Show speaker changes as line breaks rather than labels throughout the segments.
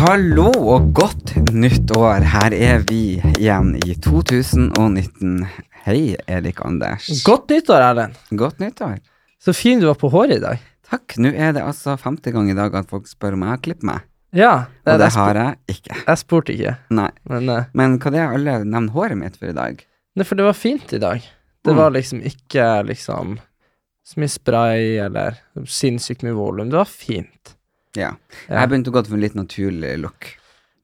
Hallo og godt nytt år. Her er vi igjen i 2019. Hei, Erik Anders.
Godt nyttår, Erlend.
Godt nyttår.
Så fin du var på håret i dag.
Takk. Nå er det altså femte gang i dag at folk spør om jeg har klippet meg.
Ja,
Og det
jeg,
har jeg ikke.
sp- jeg spurte ikke,
Nei.
men eh,
Men hva det er alle nevner håret mitt for i dag?
Nei, for det var fint i dag. Det
Mm.
var liksom ikke liksom så mye spray eller sinnssykt mye volum. Det var fint.
Ja.
Ja.
Jeg begynte å gå for en litt naturlig look.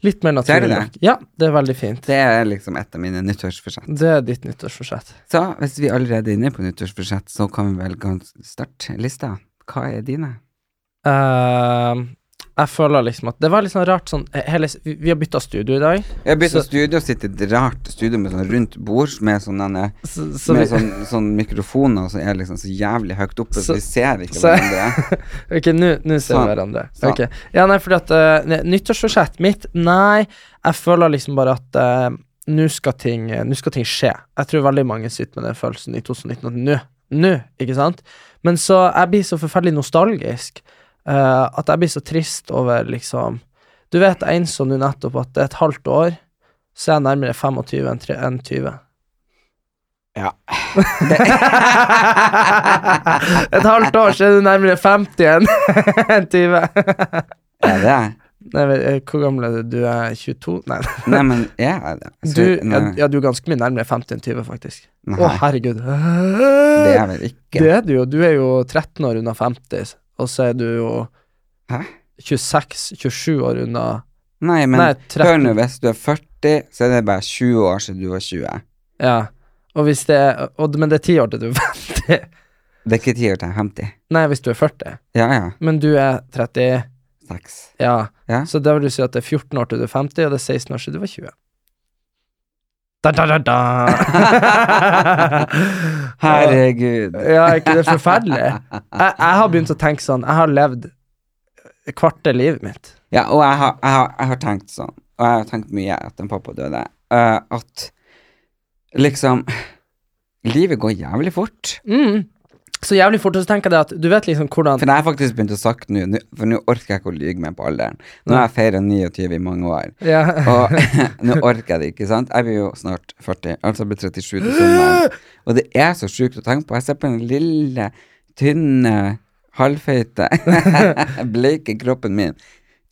Litt mer
Ser du det?
naturlig. nok. Ja, det er veldig fint.
Det er liksom et av mine nyttårsforsett.
Det er ditt nyttårsforsett.
Så hvis vi allerede er inne på nyttårsforsett, så kan vi vel gans- starte lista. Hva er dine?
Ehm, jeg føler liksom at Det var litt sånn rart sånn eh, hele, s- Vi vi har bytta studio i dag.
Jeg begynte
Så-
å studio, sitte i et rart studio med sånn rundt bord med sånne
Så, så, liksom
med
vi,
sånn, sånn mikrofoner som er liksom så jævlig høyt oppe, så
Så-
vi ser ikke
så-
hverandre.
Ok, nå nå ser
Sånn.
vi hverandre.
Sånn.
Ok. Ja, nei, fordi at eh, ne- Nyttårsforsettet mitt Nei, jeg føler liksom bare at eh, nå skal, ting- eh, nå skal ting skje. Jeg tror veldig mange sitter med den følelsen i 2019 at nå, nå, ikke sant? Men så jeg blir så forferdelig nostalgisk eh, at jeg blir så trist over liksom Du vet, jeg innså nå nettopp at det er et halvt år, så er jeg nærmere 25 enn tre- enn 20.
Ja.
Et halvt år, så er du nærmere 50 enn enn 20.
Er det?
Nei, vel, eh, hvor gammel er du? Du er 22? Nei.
Nei, men er jeg det? Så-
Du, ja,
Altså, nei,
ja, du er ganske mye nærmere 50 enn 20, faktisk. Å,
Nei.
herregud.
det
Det
er vel ikke
det er du jo. Du er jo 13 år unna 50, og så er du jo
Hæ?
26-27 år unna
Nei, men
Nei,
hør
13.
nå, hvis du er 40, så er det bare 20 år siden du var 20.
Ja. Og hvis det er og, Men det er 10 år til du er 50.
Det er ikke 10 år til jeg er 50.
Nei, hvis du er 40.
Ja, ja.
Men du er 30.
6.
Ja.
Ja.
Så da vil du si at det er 14 år til du er 50, og det er 16 år siden du var 20. Da, da, da, da.
Herregud.
Ja, er ikke det forferdelig? Jeg, jeg har begynt å tenke sånn Jeg har levd kvarte livet mitt.
Ja, og jeg har, jeg, har, jeg har tenkt sånn, og jeg har tenkt mye etter at pappa døde, eh, at liksom Livet går jævlig fort.
Så jævlig fort, og så tenker jeg det at du vet liksom hvordan
For jeg har faktisk begynt å sagt nå, nå- for nå orker jeg ikke å lyge meg på alderen. Nå har jeg feira 29 i mange år,
ja.
og nå orker jeg det ikke, sant? Jeg blir jo snart 40, altså jeg blir 37 til sommeren. Og det er så sjukt å tenke på. Jeg ser på den lille, tynne, halvfeite, bleike kroppen min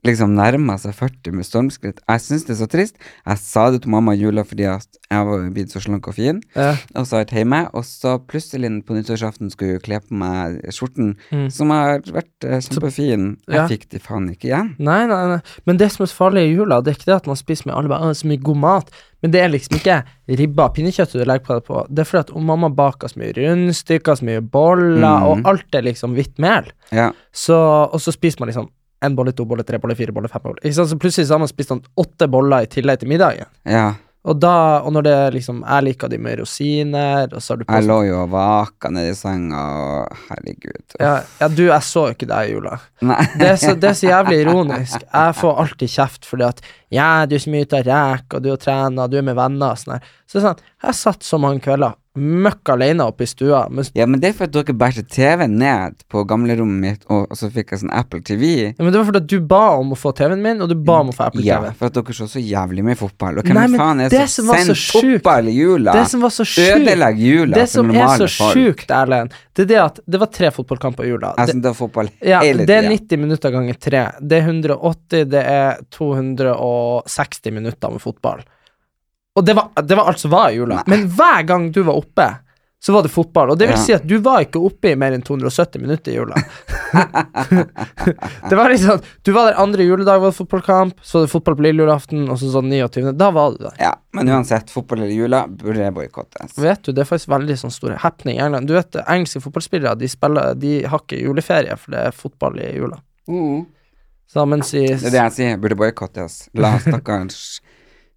liksom nærmer seg 40 med stormskritt. Jeg syns det er så trist. Jeg sa det til mamma i jula fordi at jeg var blitt så slank og fin,
Ja.
og så har jeg vært hjemme, og så plutselig på nyttårsaften skulle jeg kle på meg skjorten, som har vært eh, kjempefin. Jeg
Mm. Ja.
fikk de faen ikke igjen.
Nei, nei, nei. Men det som er så farlig i jula, det er ikke det at man spiser med alle bare, «Å, så mye god mat, men det er liksom ikke ribba og pinnekjøttet du legger på deg på. Det er fordi at om mamma baker så mye rundstykker, så mye boller, og alt er liksom hvitt mel.
Ja.
Så, og så spiser man liksom en bolle, to boller, tre boller, fire boller, fem boller. Ikke sant? Så plutselig så har man spist sånn åtte boller i tillegg til middagen.
ja.
Og da, og når det er liksom Jeg liker de med rosiner, og så har du på
Jeg lå jo og vaka nedi senga, og herregud.
ja, ja, du, jeg så jo ikke deg i jula.
Nei.
Det er, så, det er så jævlig ironisk. Jeg får alltid kjeft fordi at Ja, du er så mye ute og reker, og du er og trener, du er med venner og sånn her. Så det er sånn, jeg satt så mange kvelder møkk alene oppe i stua, mens
Ja, men det er for at dere bærte TV ned på gamlerommet mitt, og, og så fikk jeg sånn Apple TV.
ja, Men det var fordi at du ba om å få TV-en min, og du ba om å få
Ja,
Apple-TV.
for at dere så så jævlig mye fotball. Og hvem
Nei, men
faen er
det
det
som
som
var så
sender
sjukt-
fotball i jula?
Det som var så sjukt
Ødelegg jula
Det
for
som er
normale
så
folk.
sjukt, Erlend, det er det at det var tre fotballkamper i jula.
Jeg
Det-
synes det er fotball
Ja,
hele
det er
tida.
90 minutter ganger 3. Det er 180, det er 260 minutter med fotball. Og det var, det var alt som var i jula. Men hver gang du var oppe, så var det fotball. Og det vil
Ja.
si at du var ikke oppe i mer enn 270 minutter i jula. det var liksom, Du var der andre juledag, var det fotballkamp, så var det fotball på lille julaften, og så sånn 29. Da var du der.
Ja, men uansett, fotball eller jula burde boikottes.
Vet du, Det er faktisk veldig sånn store happening i England. Du vet, Engelske fotballspillere de spiller, de har ikke juleferie, for det er fotball i jula. Så mens i
Det er det jeg sier, burde boikottes. La stakkars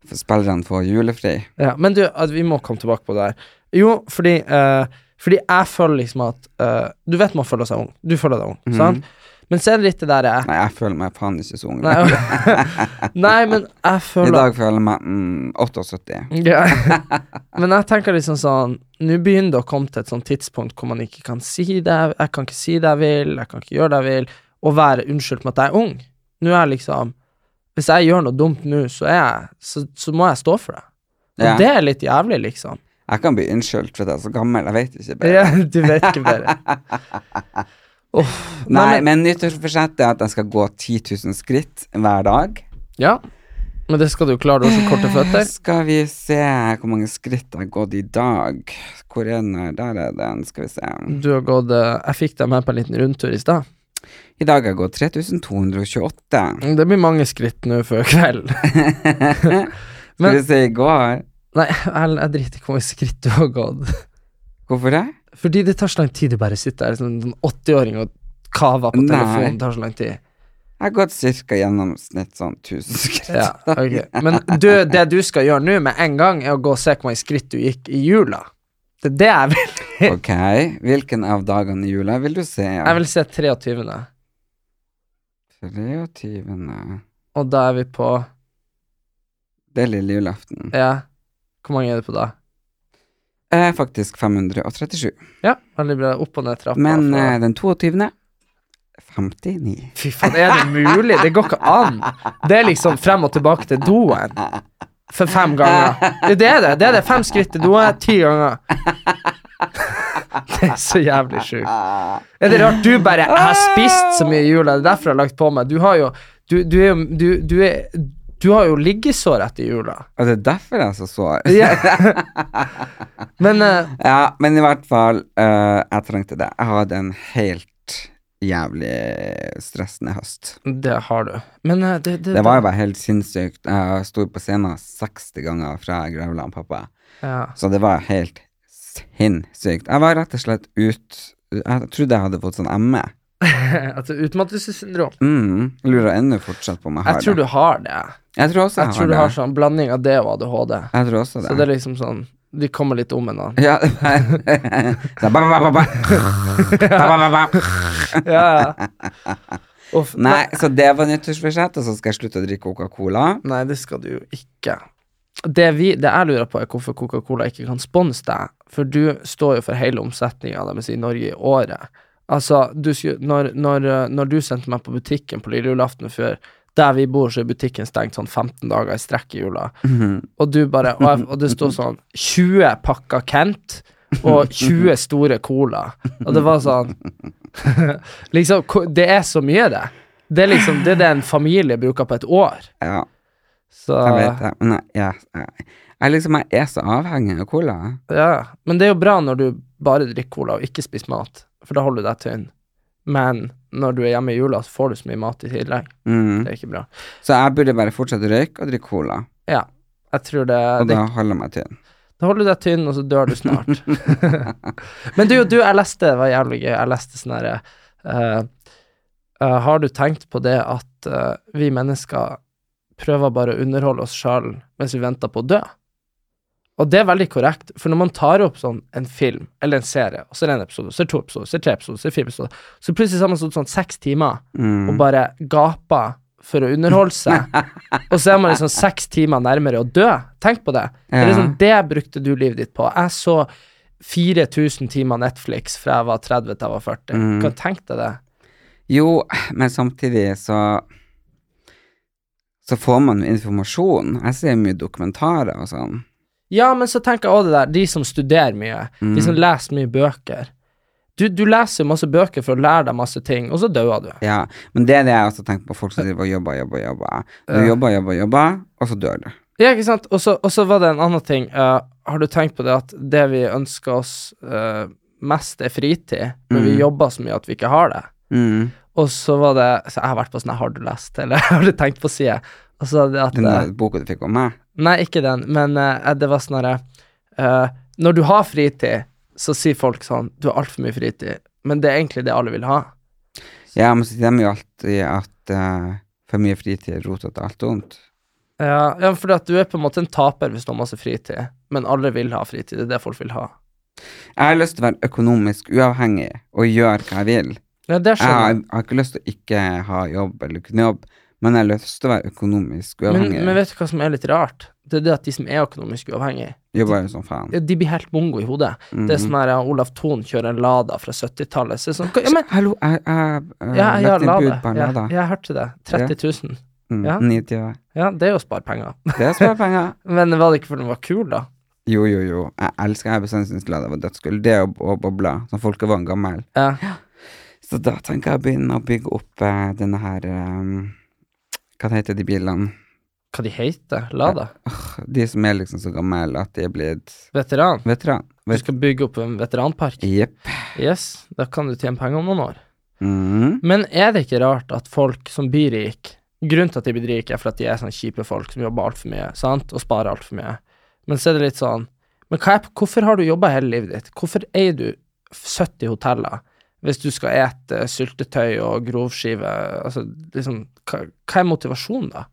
f- spillerne få julefri.
Ja, men du, at vi må komme tilbake på det her. Jo, fordi, eh, fordi jeg føler liksom at eh, Du vet man føler seg ung. Du føler deg ung,
Mhm.
sant? Men så er det litt det der jeg
Nei, jeg føler meg faen ikke så ung.
Nei, nei men jeg
I
føler
dag føler jeg meg mm, 78.
Ja. Men jeg tenker liksom sånn Nå begynner det å komme til et sånt tidspunkt hvor man ikke kan si det jeg- Jeg kan ikke si det jeg vil, jeg kan ikke gjøre det jeg vil, og være unnskyldt med at jeg er ung. Nå er jeg liksom Hvis jeg gjør noe dumt nå, så, er jeg, så, så må jeg stå for det. Og
Ja.
det er litt jævlig, liksom.
Jeg kan bli unnskyldt for at jeg er så gammel, jeg vet ikke bedre.
Ja, du vet ikke bedre. Uff.
Nei, men nyttårsforsettet er at jeg skal gå 10 000 skritt hver dag.
Ja, men det skal du klare, du har så korte
Eh,
føtter.
Skal vi se hvor mange skritt jeg har gått i dag. Hvor er den? her? Der er den, skal vi se.
Du har gått eh, Jeg fikk deg med på en liten rundtur i stad.
I dag har jeg gått 3228.
Det blir mange skritt nå før kvelden.
Skal
Men-
vi se i går.
Nei, Erlend, jeg driter i hvor mange skritt du har gått.
Hvorfor det?
Fordi det tar så lang tid du bare sitter der som en sånn 80-åring og kaver på
Nei.
telefonen. Det tar så lang tid.
Jeg har gått ca. gjennomsnitt sånn 1000 skritt.
Ja, ok. Men du, det du skal gjøre nå med en gang, er å gå og se hvor mange skritt du gikk i jula. Det er det jeg vil.
Ok, hvilken av dagene i jula vil du se?
Jeg vil se 23.
23.
Og da er vi på
Det er lille julaften.
Ja. Hvor mange er det på da?
Eh, faktisk 537.
Ja, veldig bra. Opp og ned trappa.
Men
fra-
eh, den 22. 59.
Fy faen, er det mulig? Det går ikke an. Det er liksom frem og tilbake til doen. For fem ganger. Det er det. Det er det. Fem skritt til doen, ti ganger. Det er så jævlig sjukt. Er det rart du bare Jeg har spist så mye i jula, det er derfor jeg har lagt på meg. Du har jo Du, du er jo du, du, er, du har jo liggesår etter jula.
Og det er derfor jeg er så sår.
Men eh,
Ja, men i hvert fall, eh, jeg trengte det. Jeg hadde en helt jævlig stressende høst.
Det har du. Men eh, det, det,
Det var jo bare helt sinnssykt. Jeg sto på scenen 60 ganger fra jeg grevla han pappa,
ja.
så det var helt sinnssykt. Jeg var rett og slett ut Jeg trodde jeg hadde fått sånn ME.
Altså, Utmattelsessyndrom.
Mm, lurer ennå fortsatt på om jeg har
Jeg tror du
det.
har det.
Jeg tror også jeg,
Jeg tror du
har
har
det.
sånn blanding av det og ADHD.
Jeg tror også det.
Så det er liksom sånn De kommer litt om en annen.
Ja, det var- Så ba, ba, ba, ba. Ba, ba, ba, ba.
Ja, ja. Uff,
Nei, så det var nyttårsforsett, og så skal jeg slutte å drikke Coca-Cola.
Nei, det skal du jo ikke. Det, vi, det jeg lurer på, er hvorfor Coca-Cola ikke kan sponse deg. For du står jo for hele omsetninga deres i Norge i året. Altså, du, skulle- når, når, eh, når du sendte meg på butikken på lille julaften før der vi bor, så er butikken stengt sånn 15 dager i strekk i jula. Og du bare Og, jeg, og det står sånn 20 pakker Kent og 20 store Cola. Og det var sånn Liksom, ko- det er så mye, det. Det er liksom det, er det en familie bruker på et år.
Ja,
Så,
jeg vet det. Men jeg, jeg, jeg, jeg, liksom, jeg er så avhengig av cola.
Ja, men det er jo bra når du bare drikker cola og ikke spiser mat, for da holder du deg tynn. Men når du er hjemme i jula, så får du så mye mat i tillegg.
Mm.
Det er ikke bra.
Så jeg burde bare fortsette å røyke og drikke cola.
Ja, jeg tror det,
Og
det
da holder jeg meg tynn.
Da holder du deg tynn, og så dør du snart. men du, du, jeg leste, det var jævlig gøy, jeg leste sånn herre eh, Har du tenkt på det at eh, vi mennesker prøver bare å underholde oss sjøl mens vi venter på å dø? Og det er veldig korrekt, for når man tar opp sånn en film eller en serie, og så er det en episode, så er det to episoder, så er det tre episoder, så er det fire episoder, så plutselig så har man stått sånn seks timer
Mm.
og bare gaper for å underholde seg, og så er man liksom seks timer nærmere å dø. Tenk på det. Det, er
Ja.
liksom, det brukte du livet ditt på. Jeg så 4000 timer Netflix fra jeg var 30 til jeg var 40.
Mm.
Kan tenke deg det.
Jo, men samtidig så så får man jo informasjon. Jeg ser mye dokumentarer og sånn.
Ja, men så tenker jeg også det der, de som studerer mye, de
Mm.
som leser mye bøker. Du, du leser masse bøker for å lære deg masse ting, og så dauer du.
Ja, Men det er det jeg også tenker på, folk som driver og jobber, jobber, jobber. Du
Ja.
jobber, jobber, jobber, og så dør du.
Ja, ikke sant? Og så, og så var det en annen ting. Eh, har du tenkt på det at det vi ønsker oss eh, mest, er fritid, men vi
Mm.
jobber så mye at vi ikke har det?
Mm.
Og så var det Så jeg har vært på sånn her, Har du lest, eller har du tenkt på side? Og så var det at
Den
eh,
der boka du fikk om meg.
Nei, ikke den, men eh, det var sånn herre eh, Når du har fritid, så sier folk sånn Du har altfor mye fritid, men det er egentlig det alle vil ha.
Ja, men så stemmer jo alltid at eh, for mye fritid roter til alt ondt.
Ja, Eh, ja for at du er på en måte en taper hvis du har masse fritid, men alle vil ha fritid. Det er det folk vil ha.
Jeg har lyst til å være økonomisk uavhengig og gjøre hva jeg vil.
Ja, det
Jeg har,
skjønner jeg.
jeg har ikke lyst til å ikke ha jobb eller kunne jobb, men jeg har lyst til å være økonomisk
Men,
uavhengig.
men vet du hva som er litt rart? Det er det at de som er økonomisk uavhengige,
Jobber jo som faen. Mm.
de blir helt mongo i hodet. Det
Mhm.
er sånn her ja, Olav Thon kjører en Lada fra 70-tallet. Så er det sånn, hva- ja, men
Hallo, jeg jeg, eh,
ja, jeg har
lagt inn bud
Lada.
på en
Jeg,
Lada.
jeg hørte det. 30 000.
Mm,
ja.
29.
Ja, det er jo å spare penger.
Det er sparepenger.
Men var det ikke fordi den var kul, da?
Jo, jo, jo. Jeg elsker jeg bestandig syntes Lada var dødsgull. Det og, og bobler, som folkevogn gammel.
Ja.
Så da tenker jeg å begynne å bygge opp eh, denne her eh, Hva heter de bilene?
hva de heter, Lada?
De som er liksom så gamle at de er blitt
Veteran.
veteran.
Du
Vet,
skal bygge opp en veteranpark.
Jepp.
Yes, da kan du tjene penger om noen år.
Mm.
Men er det ikke rart at folk som blir rike Grunnen til at de blir rike, er for at de er sånne kjipe folk som jobber altfor mye, sant, og sparer altfor mye. Men så er det litt sånn Men hva er, hvorfor har du jobba hele livet ditt? Hvorfor eier du 70 hoteller hvis du skal ete eh, syltetøy og grovskive? Altså, liksom, hva, hva er motivasjonen, da?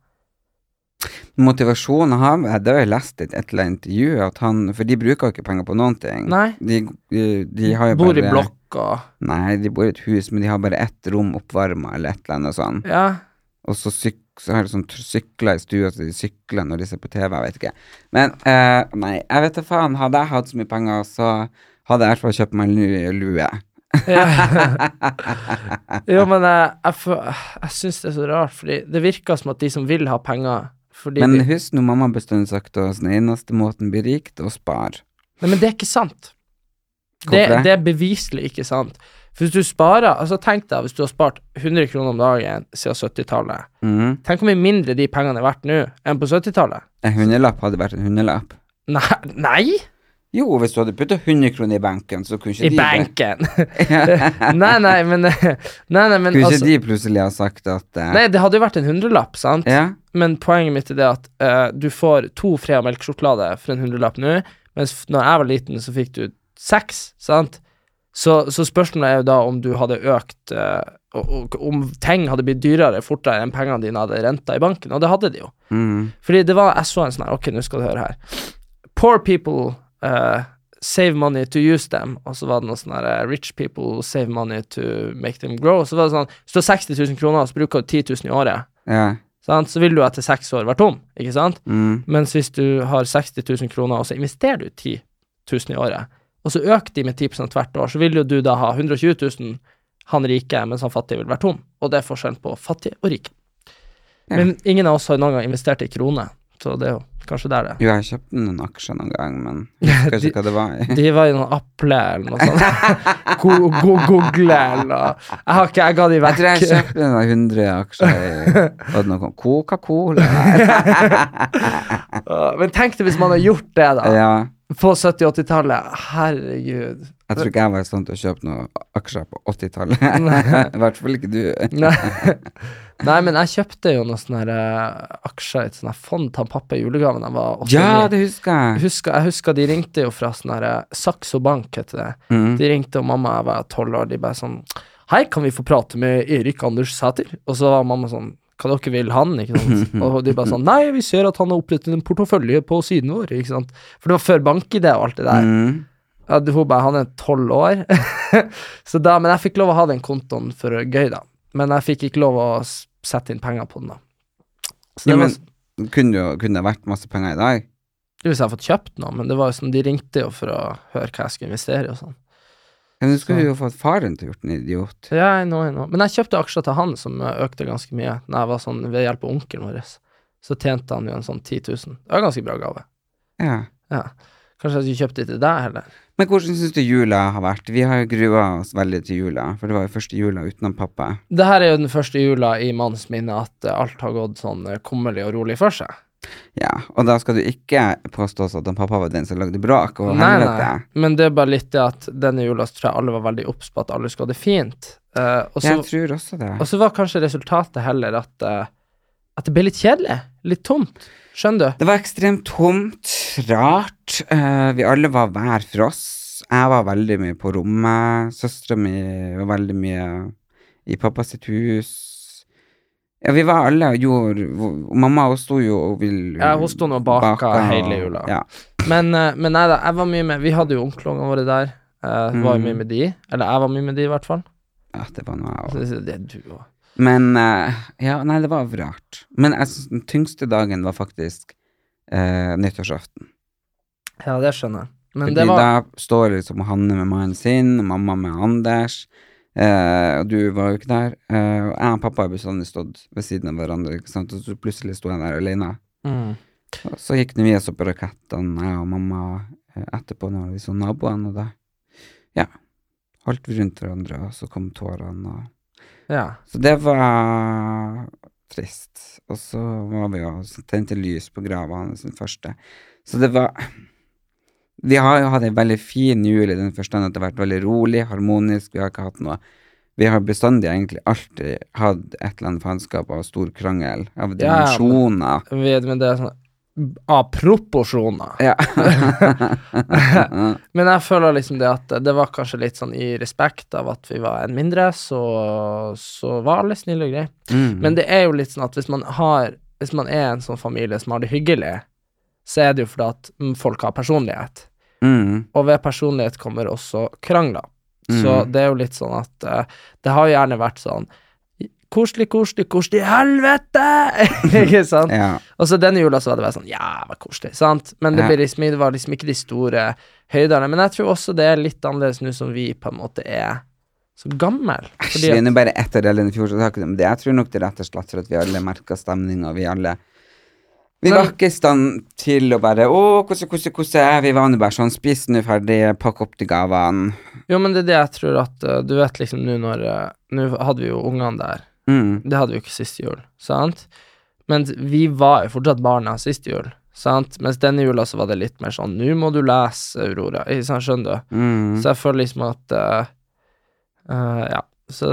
Motivasjonen har Det har jeg lest i et eller annet intervju, at han For de bruker jo ikke penger på noen ting.
Nei,
De, de, de har jo
bor i
bare
blokk og
Nei, de bor i et hus, men de har bare ett rom oppvarma eller et eller annet sånn.
Ja.
Og så, syk, så har de sånn tr- sykler i stua, så de sykler når de ser på TV, jeg vet ikke. Men eh, nei, jeg vet da faen. Hadde jeg hatt så mye penger, så hadde jeg i hvert fall kjøpt meg en ny lue.
Jo, men jeg, jeg, fø- jeg syns det er så rart, fordi det virker som at de som vil ha penger fordi
Men
de,
husk nå, mamma har bestandig sagt til oss den eneste måten å bli rik, det er å spare.
Nei, men det er ikke sant. Det,
Hvorfor det?
det er beviselig ikke sant. For hvis du sparer altså Tenk deg hvis du har spart 100 kroner om dagen siden 70-tallet.
Mhm.
Tenk hvor mye mindre de pengene er verdt nå enn på 70-tallet.
En hundrelapp hadde vært en hundrelapp.
Nei, nei!
Jo, hvis du hadde putta 100 kroner i benken, så kunne ikke
I
de
banken! nei, nei, men Nei, nei, men
Kunne ikke
altså
de plutselig ha sagt at eh,
Nei, det hadde jo vært en hundrelapp, sant?
Ja,
Men poenget mitt er det at eh, du får to Freia melkesjokolade for en hundrelapp nå, mens f- når jeg var liten, så fikk du seks, sant? Så, så spørsmålet er jo da om du hadde økt eh, og, og, Om ting hadde blitt dyrere fortere enn pengene dine hadde renta i banken, og det hadde de jo.
mm,
Fordi det var Jeg så en sånn her Ok, nå skal du høre her. Poor people eh, save money to use them, og så var det noe sånn her eh, Rich people save money to make them grow. Så var det sånn Hvis du har 60 000 kroner, og så bruker du 10 000 i året,
ja.
sant? så vil du etter seks år være tom, ikke sant?
Mm.
Mens hvis du har 60 000 kroner, og så investerer du 10 000 i året, og så øker de med 10 hvert år, så vil jo du da ha 120 000, han rike, mens han fattige vil være tom. Og det er forskjellen på fattig og rik.
Ja.
Men ingen av oss har noen gang investert i kroner, så det er jo kanskje der det er.
Jo, jeg kjøpte noen aksjer noen gang, men jeg husker ikke hva det var.
De var i noen Apple eller noe sånt. Go- go- Google eller noe. Jeg har ikke, jeg ga de
Jeg
vekk.
tror jeg kjøpte noen 100 aksjer i var det noe Coca-Cola.
Men tenk deg hvis man har gjort det, da.
Ja,
På 70-80-tallet. Herregud.
jeg tror ikke jeg var i stand til å kjøpe noen aksjer på 80-tallet. I hvert fall ikke du.
Nei. Nei, men jeg kjøpte jo noen sånne her, eh, aksjer i et sånt her fond til han pappa i julegave da jeg var 89.
Ja, det husker
jeg,
jeg.
husker, jeg husker de ringte jo fra sånn her eh, Saxo Bank, heter det.
Mm.
De ringte, og mamma jeg var tolv år, de bare sånn Hei, kan vi få prate med Erik Anders Sæter? Og så var mamma sånn Hva dere vil han? Ikke sant? Og de bare sånn Nei, vi ser at han har opprettet en portefølje på siden vår, ikke sant. For det var før bank-ID og alt det der.
Mm.
Ja, du- hun bare, han er 12 år. så da, men jeg fikk lov å ha den kontoen for gøy, da. Men jeg fikk ikke lov å s- sette inn penger på den, da. Så
Ja,
det var,
men kunne jo- kunne det vært masse penger i dag?
Hvis jeg hadde fått kjøpt noe, men det var jo sånn, de ringte jo for å høre hva jeg skulle investere i og sånn.
Men du skulle jo fått faren til å gjort en idiot.
Ja, jeg nå, jeg nå. Men jeg kjøpte aksjer til han som eh, økte ganske mye Når jeg var sånn, ved hjelp av onkelen vår. Så tjente han jo en sånn 10 000. Det var en ganske bra gave.
Ja.
Ja. Kanskje jeg skulle kjøpt det til deg heller.
Men hvordan syns du jula har vært? Vi har jo grua oss veldig til jula, for det var jo første jula utenom pappa.
Det her er jo den første jula i mannens minne at eh, alt har gått sånn eh, kummerlig og rolig for seg.
Ja, og da skal du ikke påstå at den pappa var den som lagde bråk og
Nei,
helvete.
nei. Men det er bare litt det at denne jula så tror jeg alle var veldig obs på at alle skulle ha det fint. Eh, og, så,
Jeg tror også det.
og så var kanskje resultatet heller at, eh, at det ble litt kjedelig. Litt tomt. Skjønner du?
Det var ekstremt tomt, rart. Eh, vi alle var hver for oss. Jeg var veldig mye på rommet. Søstera mi var veldig mye i pappa sitt hus. Ja, vi var alle og gjorde hvor- Mamma hun sto jo og ville
Ja, hun sto nå og baka hele jula.
Ja.
Men, eh, men nei da, jeg var mye med Vi hadde jo onkelungene våre der. Eh, Var jo mye med de. Eller jeg var mye med de, i hvert fall.
Mm. ja, det var noe jeg også.
Så det- det er du også.
Men eh, Ja, nei, det var rart. Men jeg synes den tyngste dagen var faktisk eh, nyttårsaften.
Ja, det skjønner jeg. Men
Fordi
det var
Da står liksom Hanne med mannen sin, og mamma med Anders. eh, og du var jo ikke der. eh, og jeg og pappa har bestandig stått ved siden av hverandre, ikke sant? og så plutselig sto jeg der alene.
mm.
Og så gikk nå vi oss opp på rakettene, jeg og mamma, eh, etterpå når vi så naboene, og da ja, holdt vi rundt hverandre, og så kom tårene. Og...
Ja.
Så det var trist. Og så var vi jo tente lys på grava hans den første. Så det var Vi har jo hatt en veldig fin jul i den forstand at det har vært veldig rolig, harmonisk, vi har ikke hatt noe Vi har bestandig egentlig alltid hatt et eller annet faenskap av stor krangel, av
Ja, ja,
dimensjoner.
Ved, men det er sånn Av proporsjoner.
Ja.
Men jeg føler liksom det at det var kanskje litt sånn i respekt av at vi var en mindre, så, så var alle snille og greie.
Mm.
Men det er jo litt sånn at hvis man har Hvis man er en sånn familie som har det hyggelig, så er det jo fordi at mm, folk har personlighet.
mm.
Og ved personlighet kommer også krangler. Så
Mhm.
det er jo litt sånn at eh, det har jo gjerne vært sånn Koselig, koselig, koselig, helvete! ikke sant?
Ja.
Og så denne jula så var det bare sånn Ja, det var koselig, sant? Men det,
Ja.
blir liksom, det var liksom ikke de store høydene. Men jeg tror også det er litt annerledes nå som vi på en måte er så gammel.
Fordi
Fordi
vi er
at,
nå bare etter det eller i fjor, så tar ikke det, men det, jeg tror nok det er rett og slett for at vi alle merka stemninga, vi alle Vi
Men-
var ikke i stand til å bare Å, kosse, kosse, kosse. Vi var nå bare sånn Spis nå ferdig, pakk opp de gavene.
jo, men det er det jeg tror at eh, Du vet liksom nå når eh, Nå hadde vi jo ungene der.
Mm.
Det hadde vi jo ikke sist jul, sant? Men vi var jo fortsatt barna sist jul, sant? Mens denne jula så var det litt mer sånn Nå må du lese, Aurora. Ikke sant, skjønner du?
Mm.
Så jeg føler liksom at eh, eh, Ja. Så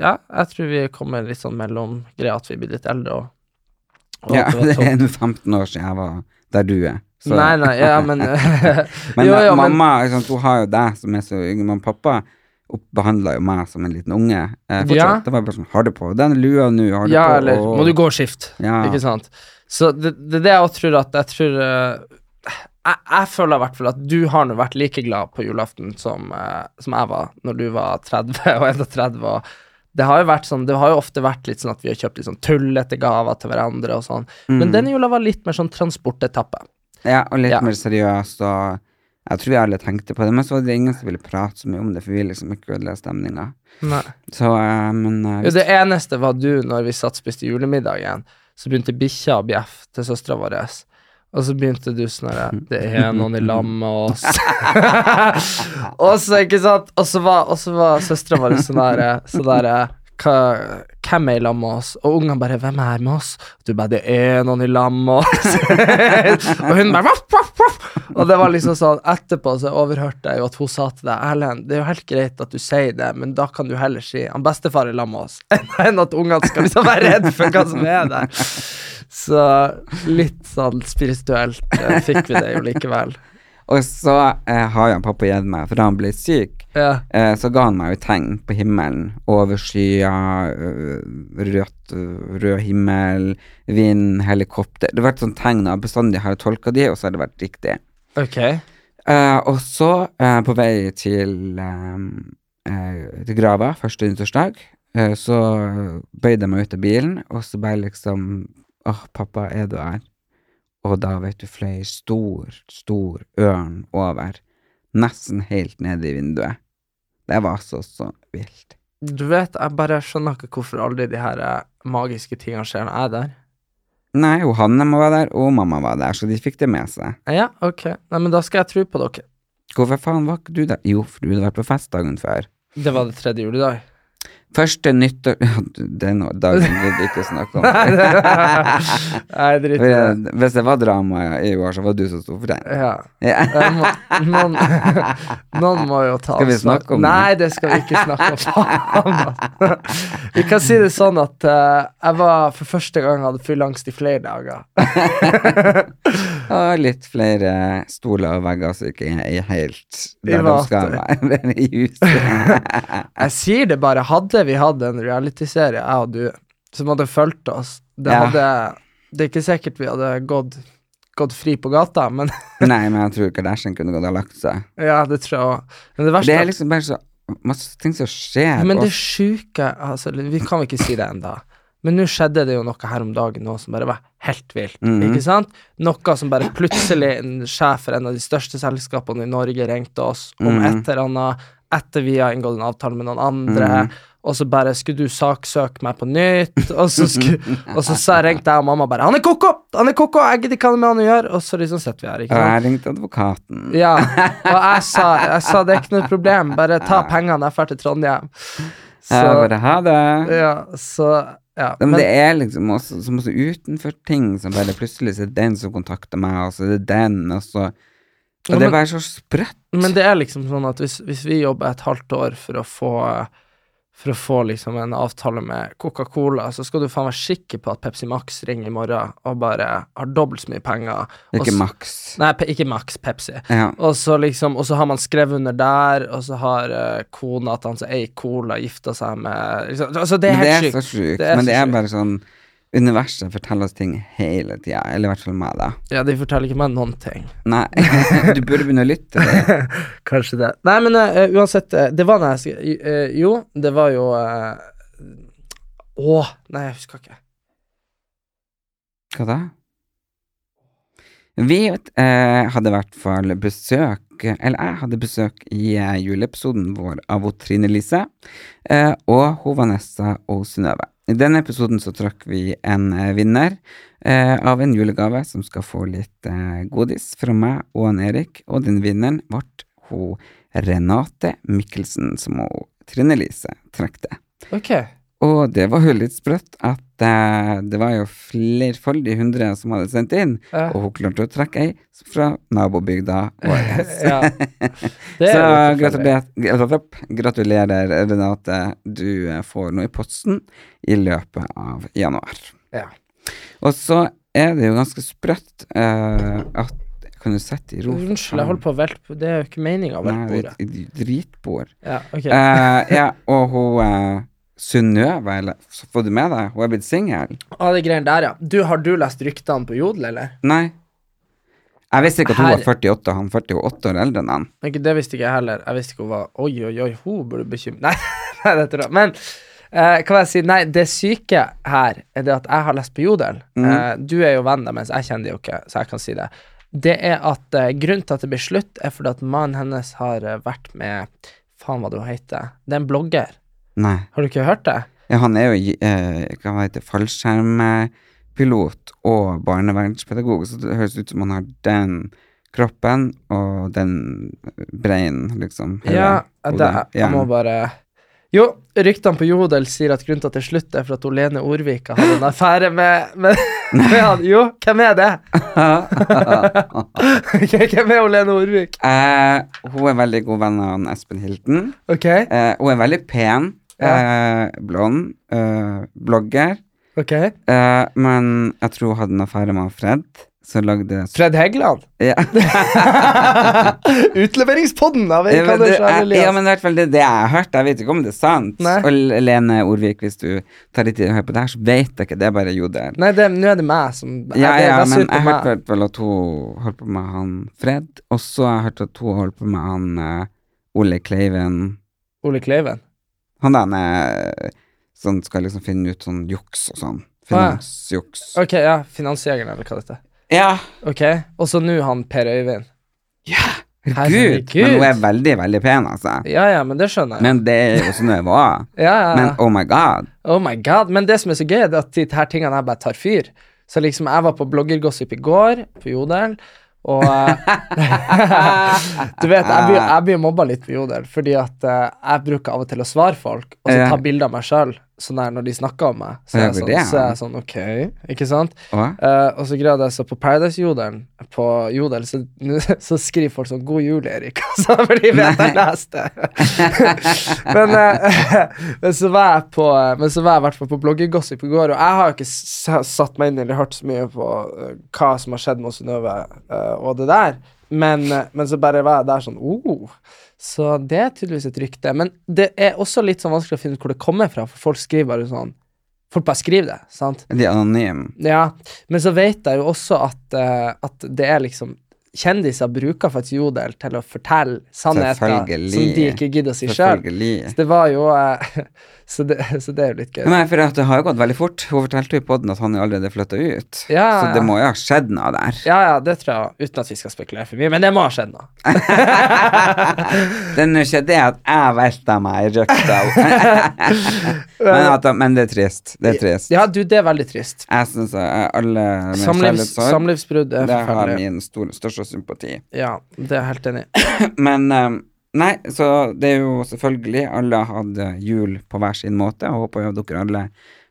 ja, jeg tror vi kommer litt sånn mellom greia at vi blir litt eldre og, og
ja,
at det var
det
topp.
er nå 15 år siden jeg var der du er. Så-
Nei, nei, ja, men
Men
Jo,
da-
jo, men-
mamma ikke sant, hun har jo deg som er så yngre, men pappa behandla jo meg som en liten unge. Eh, fortsatt.
Ja.
Det var bare sånn Har du på den lua nå? Har du
Ja,
på
eller
og-
må du gå og skifte,
Ja.
ikke sant? Så det det er det jeg også tror at Jeg tror eh, jeg, jeg føler i hvert fall at du har nå vært like glad på julaften som, eh, som jeg var når du var 30 og 31. Og det har jo vært sånn Det har jo ofte vært litt sånn at vi har kjøpt litt sånn tullete gaver til hverandre og sånn.
Mm.
Men denne jula var litt mer sånn transportetappe.
Ja, og litt
Ja.
mer seriøst, og jeg tror vi alle tenkte på det, men så var det ingen som ville prate så mye om det, for vi ville liksom ikke ødelegge stemninga. Så, eh, men eh,
Jo, det eneste var du, når vi satt og spiste julemiddag igjen, så begynte bikkja å bjeffe til søstera vår. Og så begynte du sånn herre Det er noen i lag med oss. og så, ikke sant, og så var, og så var søstera vår sånn herre sånn derre, hva- hvem er i lag med oss? Og ungene bare 'Hvem er her med oss?' Og du bare 'Det er noen i lag med oss'. og hun bare voff, voff, voff. Og det var liksom sånn Etterpå så overhørte jeg jo at hun sa til deg 'Erlend, det er jo helt greit at du sier det, men da kan du heller si 'Han bestefar er i lag med oss' enn at ungene skal liksom være redd for hva som er der. Så litt sånn spirituelt eh, fikk vi det jo likevel.
Og så eh, har jo han pappa gitt meg, for da han ble syk,
Ja.
eh, så ga han meg jo tegn på himmelen. Over skyer, øh, rødt, øh, rød himmel, vind, helikopter. Det har vært sånne tegn, og bestandig har jeg tolka de, og så har det vært riktig.
Ok.
Eh, og så, eh, på vei til, eh, eh, til grava første nyttårsdag, eh, så bøyde jeg meg ut av bilen, og så bare liksom Åh, pappa, er du her? Og da, vet du, fløy stor, stor ørn over, nesten helt nede i vinduet. Det var så, så vilt.
Du vet, jeg bare skjønner ikke hvorfor aldri de her eh, magiske tingene skjer når jeg er der.
Nei, og Hanne må være der, og mamma var der, så de fikk det med seg.
Eh, Ja, ok. Nei, men da skal jeg tro på dere.
Hvorfor faen var ikke du der? Jo, for du hadde vært på fest dagen før.
Det var det tredje juledag.
Første nyttår Den dagen gidder jeg ikke å snakke om.
Nei, drit i det.
For, eh, Hvis det var drama i år, så var det du som sto for den.
Ja.
Ja.
Jeg Må, noen, noen må jo ta
Skal vi
ansvar.
snakke om det?
Nei, det skal vi ikke snakke om. Faen, ass. Vi kan si det sånn at eh, jeg var for første gang hadde fylleangst i flere dager.
Og litt flere stoler og vegger som ikke er helt der de
vater.
skal være i huset.
Jeg sier det bare. Hadde vi hatt en realityserie, jeg og du, som hadde fulgt oss Det,
Ja.
hadde, det er ikke sikkert vi hadde gått, gått fri på gata, men
Nei, men jeg tror Kardashian kunne gått og lagt seg.
ja, det tror jeg òg. Men det verste
Det
er
er liksom bare så masse ting som skjer.
Men det
og-
sjuke altså, Vi kan vel ikke si det enda Men nå skjedde det jo noe her om dagen nå som bare var helt vilt.
Mhm.
Ikke sant? Noe som bare plutselig en sjef for en av de største selskapene i Norge ringte oss om
Mhm.
et eller annet etter vi har inngått en avtale med noen andre.
Mhm.
Og så bare skulle du saksøke meg på nytt, og så, sku, og så sa- ringte jeg og mamma bare 'Han er koko! Han er koko! Jeg gidder ikke ha noe med han å gjøre!' Og så liksom sitter vi her, ikke
og
sant?
jeg ringte advokaten.
Ja, og jeg sa, jeg sa det er ikke noe problem, bare ta pengene, jeg drar til Trondheim. Så,
Jeg bare ha det.
ja, så ja.
Men,
Men,
det er liksom også, som også utenfor ting som bare plutselig så er det den som kontakter meg, og så er det den, og så Og
Ja,
det
men-
er bare så sprøtt.
men det er liksom sånn at hvis, hvis vi jobber et halvt år for å få for å få liksom en avtale med Coca-Cola, så skal du faen være sikker på at Pepsi Max ringer i morgen og bare har dobbelt så mye penger.
Det er
Og
ikke
så-
maks.
Nei, pe- ikke Max, Pepsi.
Ja.
Og så liksom, og så har man skrevet under der, og så har eh, kona til han som eier Cola, gifta seg med liksom, Altså, det er
Men det
helt
er
sykt.
så sjukt.
Det er
Men
så
det er
sjukt.
bare sånn Universet forteller oss ting hele tida, eller i hvert fall meg, da.
Ja, de forteller ikke meg noen ting.
Nei, du burde begynne å lytte. til det.
Kanskje det. Nei, men eh, uansett, eh, det var da jeg sk- eh, Jo, det var jo eh, Å, nei, jeg husker ikke.
Hva da? Vi eh, hadde i hvert fall besøk, eller jeg hadde besøk i eh, juleepisoden vår av hun Trine Lise, eh, og hun Vanessa og Synnøve. I denne episoden så trakk vi en eh, vinner eh, av en julegave som skal få litt eh, godis fra meg og han Erik, og den vinneren ble hun Renate Mikkelsen, som hun Trine Lise trakk det.
Ok.
Og det var jo litt sprøtt at eh, det var jo flerfoldige hundre som hadde sendt inn,
Ja.
og hun klarte å trekke ei fra nabobygda vår.
Ja. Det
Så eh,
er jo tilfeldig.
gratulerer, gratulerer- gratulerer, Renate. Du eh, får noe i posten i løpet av januar.
Ja.
Og så er det jo ganske sprøtt eh, at Kan du sette i ro? for
Unnskyld, jeg holder på å velte Det er jo ikke meninga å
faen? Nei,
velte bordet.
det er et dritbord.
Ja, ok.
Eh, ja, og hun uh, Synnøve, eller så får du med deg? Hun er blitt singel?
Ah, det greiene der, ja. Du, har du lest ryktene på Jodel, eller?
Nei. Jeg visste ikke at hun
Her-
var 48, han 48 år eldre enn han.
Men ikke, det visste ikke jeg heller. Jeg visste ikke hun var Oi, oi, oi, hun burde bekymre Nei, nei, det tror jeg. Men eh, hva jeg si? Nei, det syke her er det at jeg har lest på Jodel. Eh, du er jo venn deres, jeg kjenner det jo ikke, så jeg kan si det. Det er at eh, grunnen til at det blir slutt, er fordi at mannen hennes har eh, vært med Faen, hva det hun heter. Det er en blogger.
Nei.
Har du ikke hørt det?
Ja, han er jo eh, hva heter det, fallskjermpilot og barnevernspedagog, så det høres ut som han har den kroppen og den breinen, liksom. hele
Ja,
hodet.
det, jeg må bare Jo, ryktene på Jodel sier at grunnen til at det er slutt, er for at hun Lene Orvika hadde en affære med, med, med han. Jo, hvem er det? hvem er hun Lene Orvik?
Eh, hun er veldig god venn av han Espen Hilton.
Ok,
Eh, hun er veldig pen, eh, blond, eh, blogger,
ok
eh, men jeg tror hun hadde en affære med han Fred, som lagde
Fred Heggeland.
Ja.
Utleveringspodden av
Ja,
Erik
men, det,
Anders og
jeg, ja,
Elias.
men i hvert fall det, er det jeg har hørt, jeg vet ikke om det er sant.
Nei.
Og L- Lene Orvik, hvis du tar litt tid og hører på det her, så vet jeg ikke, det er bare jodel.
Nei, det- nå er det meg som
Ja,
det-
ja,
det er
men
synd på
jeg
meg.
hørte i hvert fall at hun holdt på med han Fred, og så har jeg hørt at hun holdt på med han eh, Ole Kleiven,
Ole Kleiven.
han der eh, som skal liksom finne ut sånn juks og sånn,
ja.
finansjuks.
Ok, ja, Finansjegeren, eller hva det heter.
Ja,
Ok, og så nå han Per Øyvind.
herregud,
Herregud.
men hun er veldig, veldig pen, altså.
Ja, ja, men det skjønner jeg.
Men det er jo sånn det var.
ja, ja, ja.
Men oh my god.
Oh my god, Men det som er så gøy, er at de her tingene her bare tar fyr. Så liksom, jeg var på bloggergossip i går, på Jodel, Og eh, Du vet, jeg blir, jeg blir mobba litt på Jodel, fordi at eh, jeg bruker av og til å svare folk, og så
Ja.
ta bilder av meg sjøl sånn der når de snakker om meg.
Ja,
Så er jeg
for
sånn,
det er
så er jeg sånn OK, ikke sant?
Hva?
Eh, og så greide jeg så på Paradise-jodelen På Jodel så, så skriver folk sånn 'God jul, Erik', altså, for de vet jeg leste men, eh, men så var jeg på eh, Men så var jeg i hvert fall på bloggegossip i går, og jeg har jo ikke s- satt meg inn i eller hørt så mye på eh, hva som har skjedd med Synnøve eh, og det der, men, eh, men så bare var jeg der sånn oh. Så det er tydeligvis et rykte. Men det er også litt sånn vanskelig å finne ut hvor det kommer fra, for folk skriver bare sånn Folk bare skriver det, sant?
De er anonyme.
Ja, men så vet jeg jo også at, eh, at det er liksom Kjendiser bruker faktisk jodel til å fortelle sannheter som
Selvfølgelig.
de ikke gidder å si sjøl.
Selvfølgelig.
Så det var jo eh, så, det, så det er jo litt gøy.
Nei, for at det har jo gått veldig fort. Hun fortalte jo i podden at han jo allerede flytta ut.
Ja,
så
ja.
det må jo ha skjedd noe der.
Ja, ja, det tror jeg, uten at vi skal spekulere for mye, men det må ha skjedd nå.
Det er nå ikke det at jeg velta meg i røkta. men, at, de- men det er trist. Det er trist.
Ja, du, det er veldig trist.
Jeg syns alle med
Samlivs,
kjærlighetssorg,
samlivsbrudd er
det har
forferdelig.
min stor, største sympati.
Ja, det er jeg helt enig i.
Men eh, nei, så det er jo selvfølgelig Alle hadde jul på hver sin måte. Jeg håper jo dere alle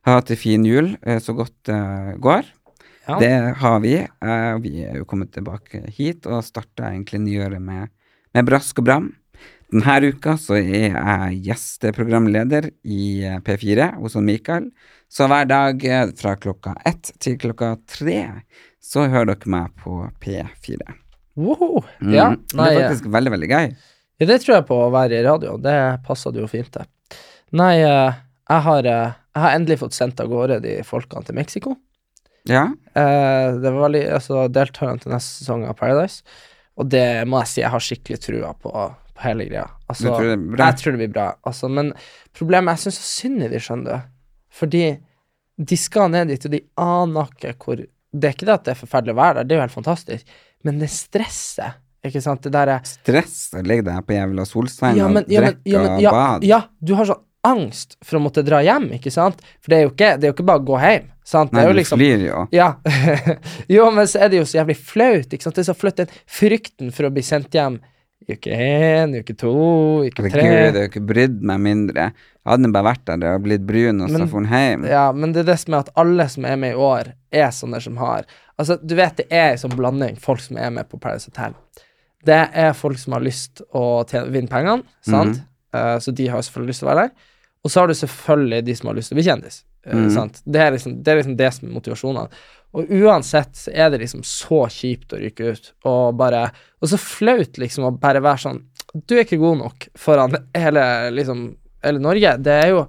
har hatt en fin jul eh, så godt det går.
Ja.
Det har vi. eh, og vi er jo kommet tilbake hit og starta egentlig nyåret med, med brask og bram. Denne uka så er jeg gjesteprogramleder i eh, P4 hos han Mikael. Så hver dag eh, fra klokka ett til klokka tre så hører dere meg på P4.
Woho!
Mm.
Ja, nei, eh,
det er faktisk veldig, veldig gøy.
Ja, det tror jeg på å være i radio. Det passer det jo fint, det. Nei, eh, jeg har, eh, jeg har endelig fått sendt av gårde de folkene til Mexico.
Ja.
Eh, det var veldig, altså deltakerne til neste sesong av Paradise. Og det må jeg si, jeg har skikkelig trua på, på hele greia. Altså,
Du tror det blir bra?
Jeg tror det blir bra. Altså, men problemet Jeg syns så synd i de, skjønner du. Fordi de skal ned dit, og de aner ikke hvor Det er ikke det at det er forferdelig å være der, det er jo helt fantastisk, men det stresset, ikke sant, det derre
Stress å ligge deg på jævla solstein
ja, men,
og
ja, men,
drikke
ja, men,
og
ja,
bad.
ja, du har sånn angst for å måtte dra hjem, ikke sant? For det er jo ikke, det er jo ikke bare å gå hjem. Sant?
Nei,
det er
du
jo liksom,
flyr jo.
ja. jo, men så er det jo så jævlig flaut. Ikke sant? Det er så flaut. Den frykten for å bli sendt hjem i uke én, i uke to, i uke
Herregud,
tre.
jeg har ikke brydd meg mindre. Jeg hadde bare vært der og blitt brun og så
Men-
dratt hjem.
Ja, men det er det som er at alle som er med i år, er sånne som har Altså, du vet det er en sånn blanding, folk som er med på Paradise Hotel. Det er folk som har lyst å tjene, vinne pengene, sant? Eh, så de har selvfølgelig lyst til å være der. Og så har du selvfølgelig de som har lyst til å bli kjendis. eh, sant? Det, er liksom, det er liksom det som er motivasjonene. Og uansett så er det liksom så kjipt å ryke ut, og bare Og så flaut liksom å bare være sånn Du er ikke god nok foran hele liksom Hele Norge. Det er jo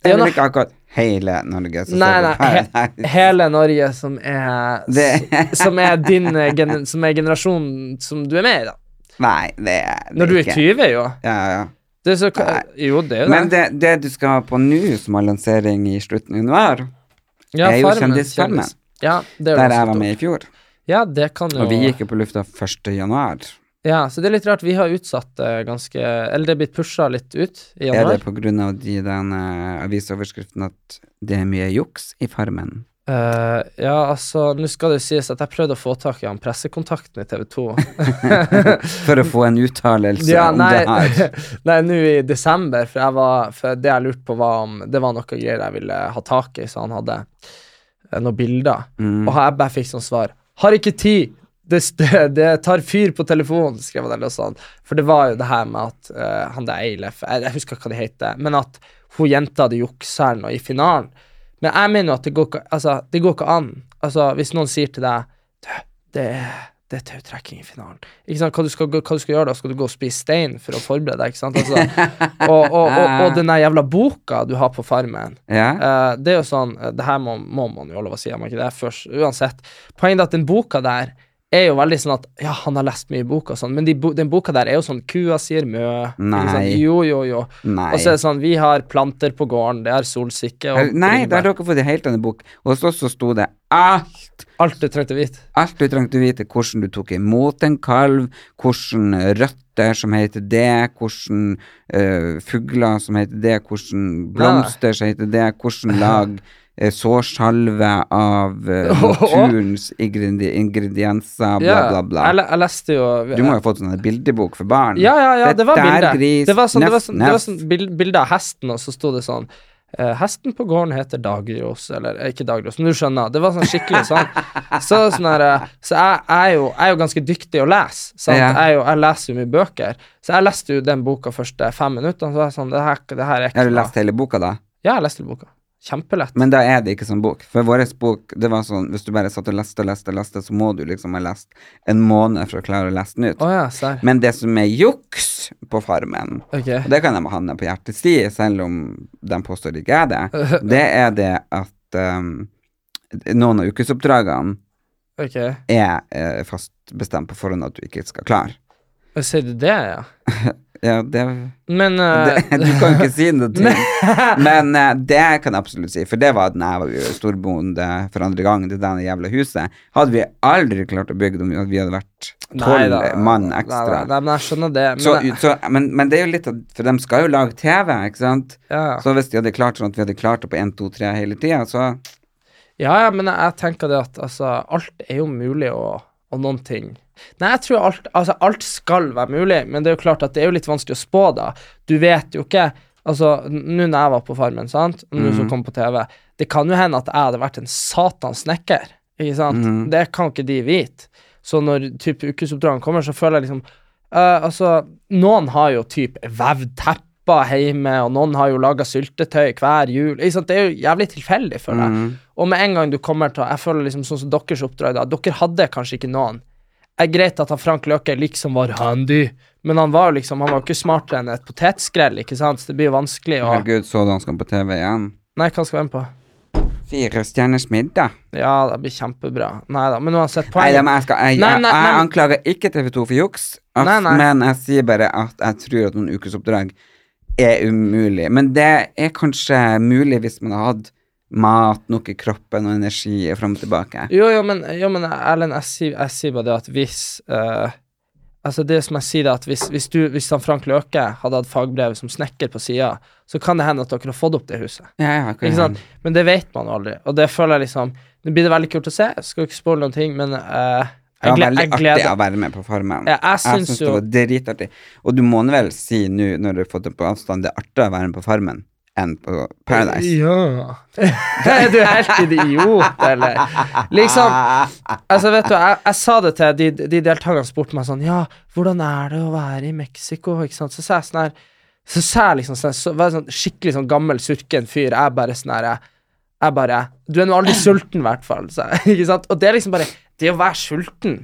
Det er jo
Eller
noe
ikke akkurat hele Norge. som
Nei,
ser
nei,
på Paradise.
he hele Norge som er
Det-
s- Som er din eh, gen Som er generasjonen som du er med i, da.
nei, det er det
Når du er
ikke.
20, jo.
Ja, ja.
Det er så, ka- jo, det er jo det.
Men det, det du skal ha på nå, som har lansering i slutten av januar,
ja,
er jo
Farmen,
Kjendisfarmen.
kjendis. Ja, det er
der
jo
jeg
også
var
dumt.
med i fjor,
Ja, det kan jo
og vi gikk jo på lufta 1. januar,
Ja, Så det er litt rart. Vi har utsatt det ganske Eller det er blitt pusha litt ut i
er det
januar.
på grunn av de, den eh, avisoverskriften at det er mye juks i Farmen?
Eh, ja, altså, nå skal det jo sies at jeg prøvde å få tak i han pressekontakten i TV 2.
For å få en uttalelse
Ja,
om
nei,
det her.
nei, nå i desember, for, jeg var, for det jeg lurte på var om det var noe greier jeg ville ha tak i, så han hadde eh, noen bilder. Og jeg bare fikk sånn svar Har ikke tid! Det, st- det tar fyr på telefonen, skrev han eller noe sånt. For det var jo det her med at eh, han der Eilef jeg, jeg husker ikke hva de heter, men at hun jenta hadde juksa eller noe i finalen. Men jeg mener jo at det går ikke, altså, det går ikke an. Altså, hvis noen sier til deg det er, det er tautrekking i finalen. Ikke sant? Hva, du skal, gå- hva du skal gjøre da? Skal du gå og spise stein for å forberede deg? Ikke sant? Altså, og, og, og, og den der jævla boka du har på farmen,
Ja.
eh, det er jo sånn eh, Det her må, må man jo ha lov å si, har man ikke det? Først, uansett. Poenget er at den boka der er jo veldig sånn at Ja, han har lest mye bok og sånn, men de, bo- den boka der er jo sånn Kua sier mø. ikke sant?
Nei.
Jo, jo, jo.
Nei.
Og så er det sånn Vi har planter på gården, det er solsikke
Her-
og
Nei, da
bringebær.
har dere fått en helt annen bok. Og så, så sto det alt.
Alt du trengte å vite.
Alt du trengte å vite. Hvordan du tok imot en kalv, hvordan røtter som heter det, hvordan eh, fugler som heter det, hvordan blomster som heter det, hvordan lag eh, sårsalve av eh, naturens ingredi ingredienser, bla,
Ja,
bla, bla.
Jeg, le- jeg leste jo
Du må jo ha fått sånn her bildebok for barn.
Ja, ja, ja, det var
Dette er
bildet.
Gris,
det var sånn, det var
nefs,
sånn, det var
nefs.
sånn bil- bilde av hesten, og så sto det sånn eh, hesten på gården heter Dagros, eller eh, ikke Dagros, men du skjønner. Det var sånn skikkelig sånn. Så, sånn her, eh, så jeg, jeg, er jo, jeg er jo ganske dyktig å lese. Sant?
Ja.
Jeg, er jo, jeg leser jo mye bøker. Så jeg leste jo den boka første fem minuttene. Så var jeg sånn, det her, det her er ikke
Har du
bra.
lest hele boka, da?
Ja, jeg leste boka. Kjempelett.
Men da er det ikke sånn bok. For vår bok, det var sånn hvis du bare satt og leste og leste og leste, så må du liksom ha lest en måned for å klare å lese den ut.
Å ja, serr.
Men det som er juks på Farmen,
Ok.
og det kan de handle på hjertesti, selv om de påstår det ikke er det, det er det at um, noen av ukesoppdragene
ok.
er eh, fast bestemt på forhånd at du ikke skal klare.
Sier du det, ja?
Ja, det,
Men
det,
eh,
du kan ikke si noe til. Men eh, det kan jeg absolutt si, for det var da jeg var jo storbonde for andre gang. Det der jævla huset hadde vi aldri klart å bygge om vi hadde vært
nei da.
tolv mann
Nei,
ekstra.
da. nei, men jeg skjønner det. Men, eh,
Så,
jeg-
så, men, men det er jo litt at For de skal jo lage TV, ikke sant?
ja.
Så hvis de hadde klart sånn at vi hadde klart det på 1, 2, 3 hele tida, så
Ja, ja, men jeg tenker det at altså, alt er jo mulig og, og noen ting. Nei, jeg tror alt, altså, alt skal være mulig, men det er jo klart at det er jo litt vanskelig å spå da. Du vet jo ikke, altså, n- nå når jeg var på farmen, sant, og nå som kom på TV, det kan jo hende at jeg hadde vært en satans snekker, ikke sant? Det kan ikke de vite. Så når typ ukesoppdragene kommer, så føler jeg liksom, eh, altså, noen har jo typ vevd tepper hjemme, og noen har jo laget syltetøy hver jul, ikke sant? Det er jo jævlig tilfeldig for deg.
Mm.
Og med en gang du kommer til Jeg føler liksom sånn som deres oppdrag da Dere hadde kanskje ikke noen Jeg er greit at han Frank Løke liksom var handy Men han var jo liksom Han var jo ikke smartere enn et potetskrell Ikke sant? Så det blir jo vanskelig å
Herregud, så du han skal på TV igjen?
Nei, hva skal jeg være med på?
Fire stjerners middag?
Ja, det blir kjempebra Neida, men uansett
Nei,
poenget
da, men jeg, skal, jeg,
Nei,
jeg,
nei, nei,
jeg
men-
anklager ikke TV2 for juks, ass,
Nei, nei.
men jeg sier bare at jeg tror at noen ukesoppdrag er umulig. Men det er kanskje mulig hvis man har hatt mat nok i kroppen og energi fram og tilbake.
Jo, jo, men, jo, men Erlend, jeg sier, jeg sier bare det at hvis eh, Altså det som jeg sier er at hvis, hvis, du, hvis han Frank Løke hadde hatt fagbrev som snekker på siden Så kan det hende at dere har fått opp det huset
Ja, ja, kan
Ikke
jeg-
sant? Men det vet man aldri. Og det føler jeg liksom Det blir det veldig kult å se. Jeg skal ikke spoile noen ting, men eh,
Det
jeg,
var
gle
veldig
jeg
artig å
gleder
være med på Farmen.
Ja, jeg syns
syns det
jo-
var dritartig. Og du må nå vel si nå, når du har fått det på avstand, det er artigere å være med på Farmen enn på Paradise.
Ja. er du helt idiot, eller? Liksom Altså, vet du, jeg, jeg sa det til de, de deltakerne som spurte meg sånn Ja, hvordan er det å være i Mexico? Ikke sant? Så sa jeg sånn her Så sa jeg liksom sånn, så var jeg sånn skikkelig sånn gammel, surken fyr. Jeg bare sånn her jeg- Jeg bare Du er nå aldri sulten, i hvert fall. sa jeg. Ikke sant? Og det er liksom bare Det å være sulten,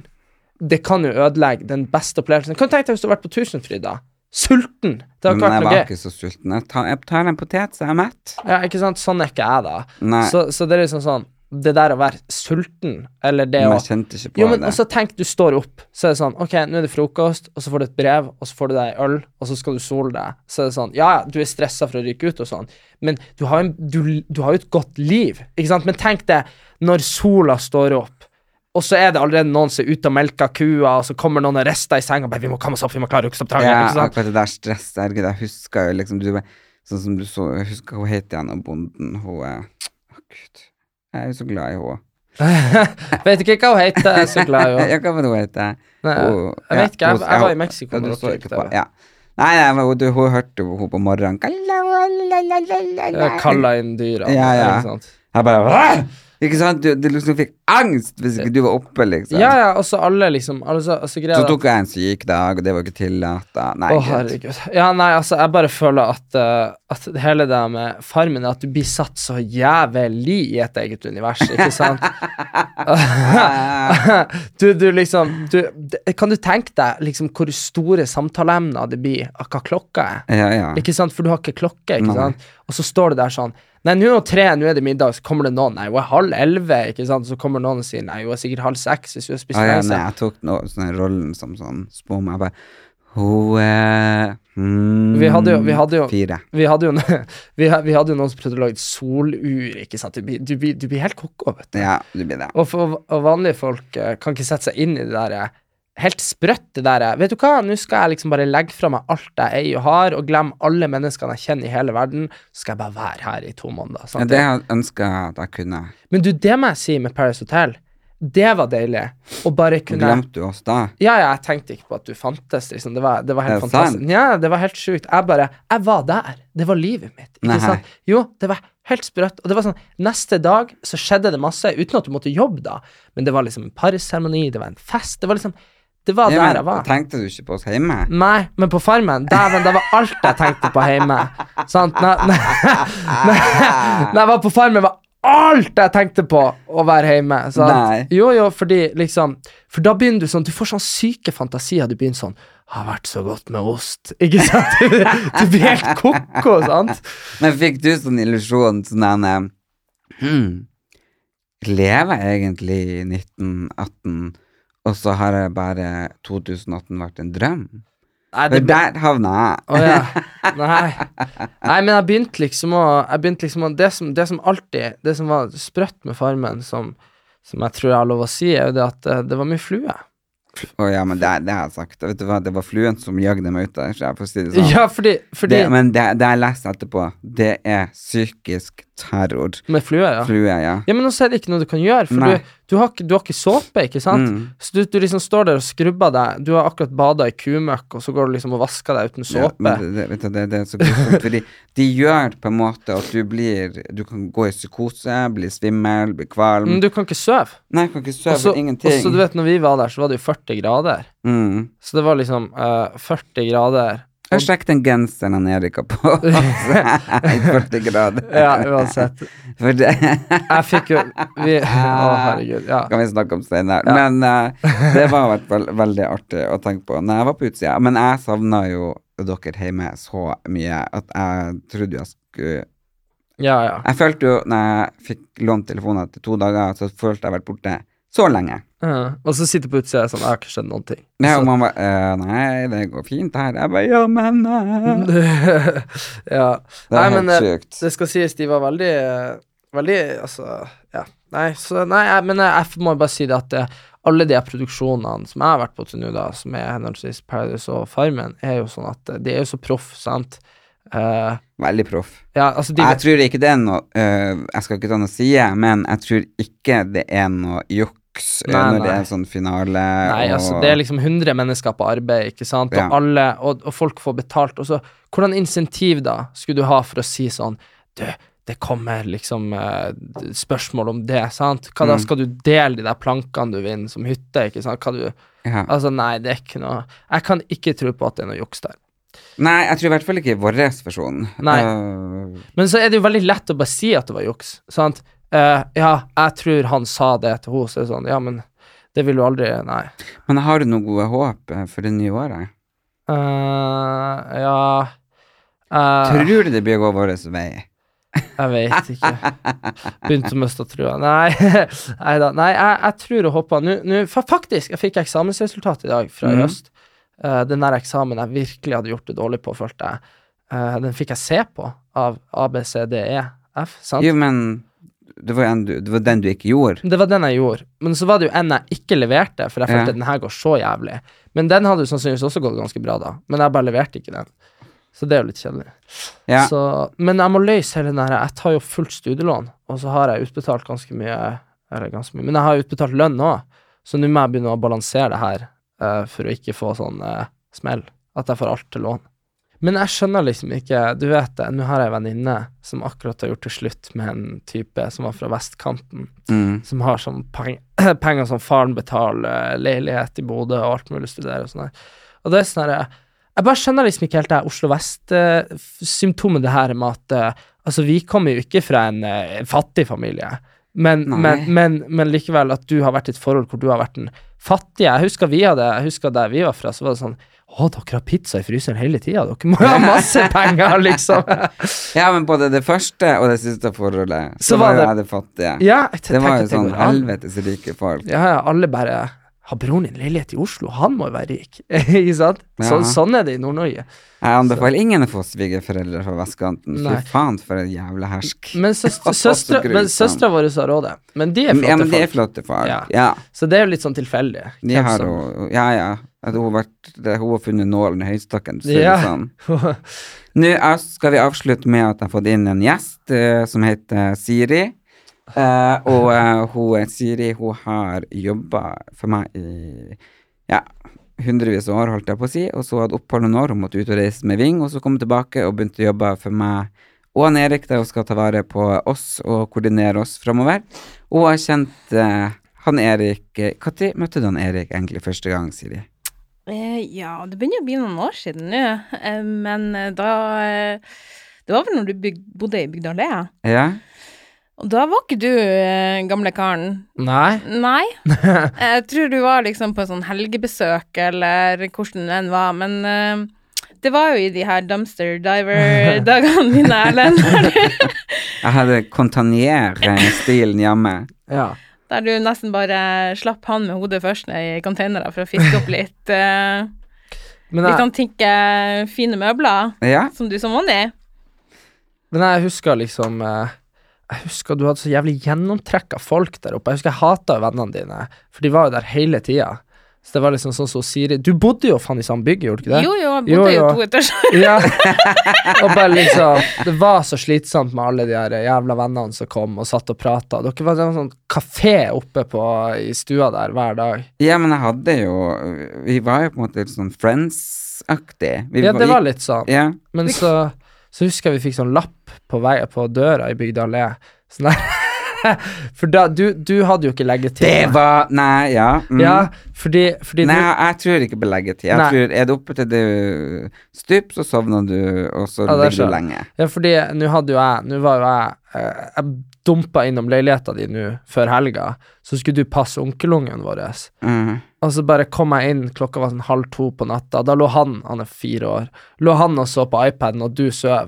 det kan jo ødelegge den beste opplevelsen. Kan du tenke deg hvis du har vært på Tusenfryd, da? Sulten! Det har
Men
ikke vært
jeg
noe
var
gøy.
ikke så sulten. Jeg tar, jeg tar en potet, så er jeg mett.
Ja, ikke sant? Sånn er ikke jeg, da.
Nei.
Så, så det er liksom sånn Det der å være sulten, eller det
Men
å
jeg kjente ikke på
Jo, men
det.
også tenk, du står opp, så er det sånn Ok, nå er det frokost, og så får du et brev, og så får du deg en øl, og så skal du sole deg. Så er det sånn Ja, ja, du er stressa for å ryke ut og sånn, men du har, en, du, du har jo et godt liv, ikke sant? Men tenk det, når sola står opp, og så er det allerede noen som er ute og melker kua, og så kommer noen og rister i senga og bare 'Vi må komme oss opp, vi må klare økseoppdraget',
Ja,
ikke sant?
akkurat det der stresset. Herregud, jeg husker jo liksom du, Sånn som du så Jeg husker hun het igjen, og bonden, hun eh, Å, gud. Jeg er jo så glad i henne.
Vet ikke hva hun heter, jeg er så glad i henne.
Ja, hva var det hun heter?
Nei,
Hun-
jeg vet ikke, jeg-
hun-
jeg var i
hun-
Mexico
Ja,
når
du
dere
så
gikk
ikke
der.
på ja. Nei, nei, men hun, du- hun hørte jo hun på morgenen
Jeg kaller inn dyra.
Ja, ja.
Ikke sant?
Jeg bare «Åh!» Ikke sant? Du, du liksom fikk angst hvis ikke du var oppe, liksom.
ja, ja, og så alle, liksom. Altså, altså greia
Så
er at-
tok jeg en syk dag, og det var ikke tillatt. da. Nei,
Å,
gud.
herregud. Ja, nei, altså, jeg bare føler at, eh, at det hele det med Farmen er at du blir satt så jævlig i et eget univers, ikke sant? du, du liksom du, d- Kan du tenke deg liksom hvor store samtaleemner det blir av hva klokka er?
Ja, ja.
Ikke sant? For du har ikke klokke, ikke
Nei.
sant? Og så står det der sånn Nei, nå er det tre, nå er det middag, så kommer det noen Nei, hun er halv elleve, ikke sant? Så kommer noen og sier Nei, hun er sikkert halv seks hvis hun har spist
Ah, ja,
reise.
nei, jeg tok nå, sånn, her rollen som sånn spåmann. Jeg bare Hun eh, hmm,
Vi hadde jo- vi hadde jo-
Fire.
Vi hadde jo, vi, ha- vi hadde jo noen som prøvde å lage et solur, ikke sant? Du blir, du blir, du blir helt koko, vet du.
Ja, du blir det.
Og, for, og vanlige folk eh, kan ikke sette seg inn i det der eh, helt sprøtt, det der. eh. Vet du hva, nå skal jeg liksom bare legge fra meg alt jeg eier og har, og glemme alle menneskene jeg kjenner i hele verden. Så skal jeg bare være her i to måneder.
Ja,
Sant?
det jeg ønska jeg at jeg kunne.
Men du, det må jeg si med Paris Hotel. Det var deilig. Å bare kunne
Glemte du oss da?
Ja, ja, jeg tenkte ikke på at du fantes. Liksom. Det, var, det var helt
Er det
fantastisk.
sant?
Ja, det var helt sjukt. Jeg bare Jeg var der. Det var livet mitt. Ikke
Nei.
sant? Jo, det var helt sprøtt. Og det var sånn Neste dag så skjedde det masse, uten at du måtte jobbe, da. Men det var liksom en Paris-seremoni, det var en fest. Det var liksom Det var
Ja,
der
men
jeg var.
Tenkte du ikke på oss hjemme?
Nei, men på Farmen, dæven, det var alt jeg tenkte på hjemme. Sant? Når, når, når jeg var på Farmen, var alt jeg tenkte på å være hjemme. Sant?
Nei.
Jo, jo, fordi liksom For da begynner du sånn Du får sånn syke fantasier. Du begynner sånn Har vært så godt med ost. Ikke sant? Du, du blir helt ko-ko, sant?
Men fikk du sånn illusjon sånn en eh, hmm, Lever jeg egentlig i 1918, og så har jeg bare 2018 vært en drøm?
Nei,
For der havna jeg.
Å ja. Nei. Nei, men jeg begynte liksom å, jeg begynte liksom å det, som, det som alltid Det som var sprøtt med Farmen, som, som jeg tror jeg har lov å si, er jo det at eh, det var mye flue.
Å ja, men det, det har jeg sagt. Vet du hva, det var fluen som jagde meg ut der, så jeg får si det sånn.
Ja, fordi, fordi
Det, men det, det jeg leste etterpå, det er psykisk terror.
Med flue, ja.
Flue, ja.
Ja, men nå er det ikke noe du kan gjøre, for
Nei. Mm.
du, du, har ikke, du har ikke såpe, ikke sant? Så du, du liksom står der og skrubber deg, du har akkurat bada i kumøkk, og så går du liksom og vasker deg uten
Ja,
såpe.
men det, det, vet du, det, det er så grusomt, fordi de gjør på en måte at du blir Du kan gå i psykose, bli svimmel, bli kvalm.
Men Mm, du kan ikke sove.
Nei, kan ikke
Og
sove,
så, og
ingenting.
så du vet, når vi var der, så var det jo 40 grader.
mm.
Så det var liksom eh, 40 grader.
Jeg sjekket den genseren han Erik har på i 40 grader.
Ja, uansett.
For det
Jeg fikk jo vi, Å, herregud. Ja.
kan vi snakke om senere. Men eh, det var i hvert fall veldig artig å tenke på når jeg var på utsida. Men jeg savna jo dere hjemme så mye at jeg trodde jeg skulle
ja, ja.
Jeg følte jo når jeg fikk lånt telefonen etter to dager, så følte jeg har vært borte så lenge.
Ja. Uh, Og så sitter jeg på utsida sånn, jeg har ikke skjønt noen ting.
Nei, og man bare eh, Nei, det går fint her. Jeg bare Ja, men eh.
ja.
Det
Nei,
er
men
helt
eh,
sjukt.
det skal sies, de var veldig eh, Veldig, altså Ja. Nei, så, nei jeg, men eh, jeg, jeg må bare si det at eh, alle de her produksjonene som jeg har vært på til nå, da, som er henholdsvis Paradise og Farmen, er jo sånn at eh, de er jo så proff, sant? Eh,
Veldig proff.
ja, altså de,
Jeg tror ikke det er noe eh, Jeg skal ikke ta noe side, men jeg tror ikke det er noe juks eh,
Nei,
når det
nei.
er en sånn finale
Nei,
og
altså det er liksom 100 mennesker på arbeid, ikke sant, og
Ja.
alle, og, og folk får betalt, og så, hvordan insentiv da skulle du ha for å si sånn, du, det kommer liksom eh, spørsmål om det, sant, hva
Mm.
da skal du dele de der plankene du vinner som hytte, ikke sant, hva du,
ja.
altså nei, det er ikke noe, jeg kan ikke tro på at det er noe juks der.
Nei, jeg tror i hvert fall ikke i vår versjon.
Nei.
Eh,
Men så er det jo veldig lett å bare si at det var juks, sant, Eh, ja, jeg tror han sa det til henne, så er det sånn, ja, men det vil du aldri, nei.
men har du noen gode håp eh, for det nye året?
Eh, ja, eh,
Tror du det blir å gå vår vei?
Jeg vet ikke. Begynte å miste trua. Nei Neida. Nei, jeg, jeg tror og håper Nå, nå- fa- Faktisk, jeg fikk eksamensresultat i dag fra i
Mhm.
høst. Eh, den der eksamen jeg virkelig hadde gjort det dårlig på, følte jeg. Eh, den fikk jeg se på av ABCDEF, E sant?
Jo, men det var, en, du- det var den du ikke gjorde.
Det var den jeg gjorde. Men så var det jo en jeg ikke leverte, for jeg
Ja.
følte at den her går så jævlig. Men den hadde jo sannsynligvis også gått ganske bra, da. Men jeg bare leverte ikke den. Så det er jo litt kjedelig.
Ja.
Så, men jeg må løse hele den her Jeg tar jo fullt studielån, og så har jeg utbetalt ganske mye Eller ganske mye, men jeg har jo utbetalt lønn òg, så nå må jeg begynne å balansere det her eh, for å ikke få sånn eh, smell. At jeg får alt til lån. Men jeg skjønner liksom ikke Du vet det, nå har jeg ei venninne som akkurat har gjort det slutt med en type som var fra vestkanten
Mm.
som har sånn peng penger som faren betaler, leilighet i Bodø og alt mulig studerer og sånn her. Og det er sånn her Jeg bare skjønner liksom ikke helt det her Oslo Vest-symptomet, det her med at eh, Altså, vi kommer jo ikke fra en eh, fattig familie, men,
Nei.
men, men, men likevel at du har vært i et forhold hvor du har vært den fattige. Jeg husker vi hadde Jeg husker der vi var fra, så var det sånn å, dere har pizza i fryseren hele tida. Dere må jo ha masse penger, liksom.
ja, men både det første og det siste forholdet,
Så
så,
var
var jo
det-
jeg det fattige.
Ja, jeg
det
tenker
var
at
jo sånn
går an.
helvetes rike folk.
Ja, ja, alle bare Har broren din leilighet i Oslo? Han må jo være rik. Ikke sant?
Ja.
Så, sånn er det i Nord-Norge.
Jeg anbefaler ingen å få svigerforeldre fra vestkanten. Fy
Nei.
faen, for en jævla hersk.
Men søstre-
Så
søstre- men
grusomt.
søstera vår har råd, men de er flotte
ja, men de er
folk.
flotte folk. Ja.
Ja. Så det er jo litt sånn tilfeldig.
De
hvem
har
som-
jo Ja, ja. At hun, har vært, det, hun har funnet nålen i høystakken. Så ja.
Ja.
sånn. Nå er- skal vi avslutte med at jeg har fått inn en gjest eh, som heter Siri. Eh, og eh, hun, Siri hun har jobba for meg i ja, hundrevis av år, holdt jeg på å si. Og så hadde opphold noen år, hun måtte ut og reise med Ving, og så kom hun tilbake og begynte å jobbe for meg og han Erik, der hun skal ta vare på oss og koordinere oss framover. Og hun har kjent eh, han Erik eh, Når møtte du han Erik egentlig første gang, Siri?
Eh, ja, det begynner å bli noen år siden nå. Eh, men eh, da eh, Det var vel når du byg bodde i Bygda Allé.
Ja?
Og da var ikke du eh, gamle karen.
Nei.
Nei. Jeg tror du var liksom på en sånn helgebesøk, eller hvordan det enn var. Men eh, det var jo i de her dumpster diver-dagene dine, Erlend. der du-
Jeg hadde Contanier-stilen hjemme.
Ja.
Der du nesten bare slapp han med hodet først ned i containere for å fiske opp litt. eh,
Men
litt
jeg,
sånn tinke fine møbler,
Ja?
som du som vanlig.
men jeg husker liksom eh, Jeg husker du hadde så jævlig gjennomtrekk av folk der oppe. Jeg husker jeg hata vennene dine, for de var jo der hele tida. Så det var liksom sånn som Siri Du bodde jo faen i samme bygg, gjorde du ikke det?
Jo, jo, jeg
Jo,
bodde jo
jo.
to etasjer.
Ja. Og bare liksom Det var så slitsomt med alle de her jævla vennene som kom og satt og prata. Dere var det var en sånn kafé oppe på, i stua der hver dag.
ja, men jeg hadde jo Vi var jo på en måte litt sånn Friends-aktig. Vi
Ja, det var litt sånn.
Ja.
Men så, så husker jeg vi fikk sånn lapp på vei på døra i Bygda allé. Sånn der. For da, du, du hadde jo ikke leggetid.
Det var Nei, ja. mm.
Ja, fordi, fordi
Nei,
du
jeg tror ikke på leggetid. Jeg
Nei.
tror, er det oppe til du stup, så sovner du, og så
Ja, det
ligger
skjønner.
du lenge.
Ja, fordi nå hadde jo jeg Nå var jo jeg eh, Jeg dumpa innom leiligheta di nå før helga, så skulle du passe onkelungen vår.
Mm.
Og så bare kom jeg inn, klokka var sånn halv to på natta. Da lå han, han er fire år, lå han og så på iPaden, og du sov.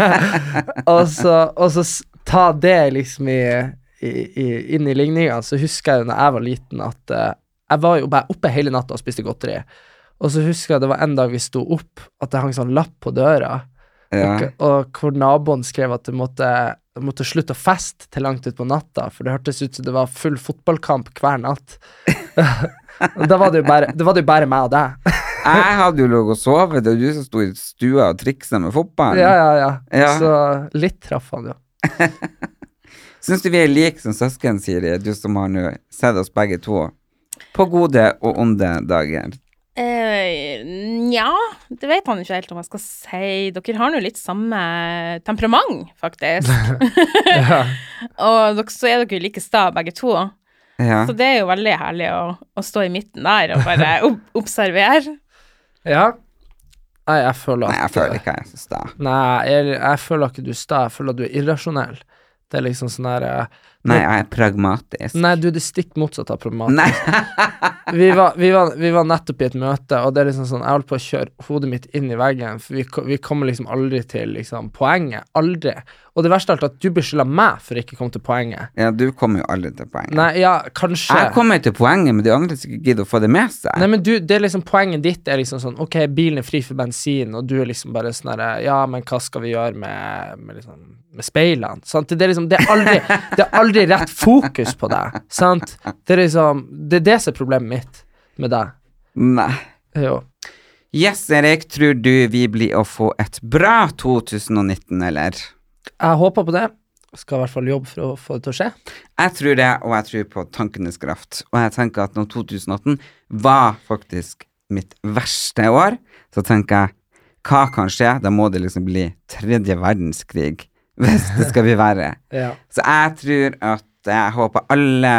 og så, og så s- ta det liksom i, i, i, inn i ligninga. Så husker jeg jo når jeg var liten, at eh, jeg var jo bare oppe hele natta og spiste godteri. Og så husker jeg det var en dag vi sto opp, at det hang sånn lapp på døra,
Ja.
og, og hvor naboen skrev at du måtte, du måtte slutte å feste til langt utpå natta, for det hørtes ut som det var full fotballkamp hver natt. Og da var det jo bare, det var det jo bare meg og deg.
Jeg hadde jo ligget og sovet, det var du som sto i stua og triksa med fotballen.
Ja, ja, ja.
Ja.
Så litt traff han jo.
Syns du vi er like som søsken, Siri, du som har nå sett oss begge to? På gode og onde dager.
Eh, Nja, det vet han ikke helt om jeg skal si. Dere har nå litt samme temperament, faktisk. og dere, så er dere jo like sta, begge to.
Ja.
Så det er jo veldig herlig å, å stå i midten der og bare ob observere.
Ja. Nei, jeg føler
Nei,
at eh,
jeg føler ikke jeg er så sta.
Nei, jeg, jeg føler ikke du er sta, jeg føler at du er irrasjonell. Det er liksom sånn her eh,
Nei, jeg er pragmatisk.
Nei, du er det stikk motsatte av problematisk.
Nei.
vi, var, vi, var, vi var nettopp i et møte, og det er liksom sånn, jeg holdt på å kjøre hodet mitt inn i veggen, for vi, ko- vi kommer liksom aldri til liksom, poenget. Aldri. Og det verste av alt er at du beskylder meg for ikke å komme til poenget.
Ja, du kommer jo aldri til poenget.
Nei, ja, kanskje
Jeg kommer jo til poenget, men de andre som ikke gidder å få det med seg.
Nei, men du, det er liksom Poenget ditt er liksom sånn Ok, bilen er fri for bensin, og du er liksom bare sånn herre Ja, men hva skal vi gjøre med, med, liksom, med speilene? Sant? Det er liksom det er, aldri, det er aldri rett fokus på deg, sant? Det er liksom Det er det som er problemet mitt med deg. Eh,
Nei.
Jo.
Yes, Erik, tror du vi blir å få et bra 2019, eller?
Jeg håper på det. Skal i hvert fall jobbe for å få det til å skje.
Jeg tror det, og jeg tror på tankenes kraft. Og jeg tenker at når 2018 var faktisk mitt verste år, så tenker jeg hva kan skje? Da må det liksom bli tredje verdenskrig, hvis det skal bli verre.
Ja.
Så jeg tror at jeg håper alle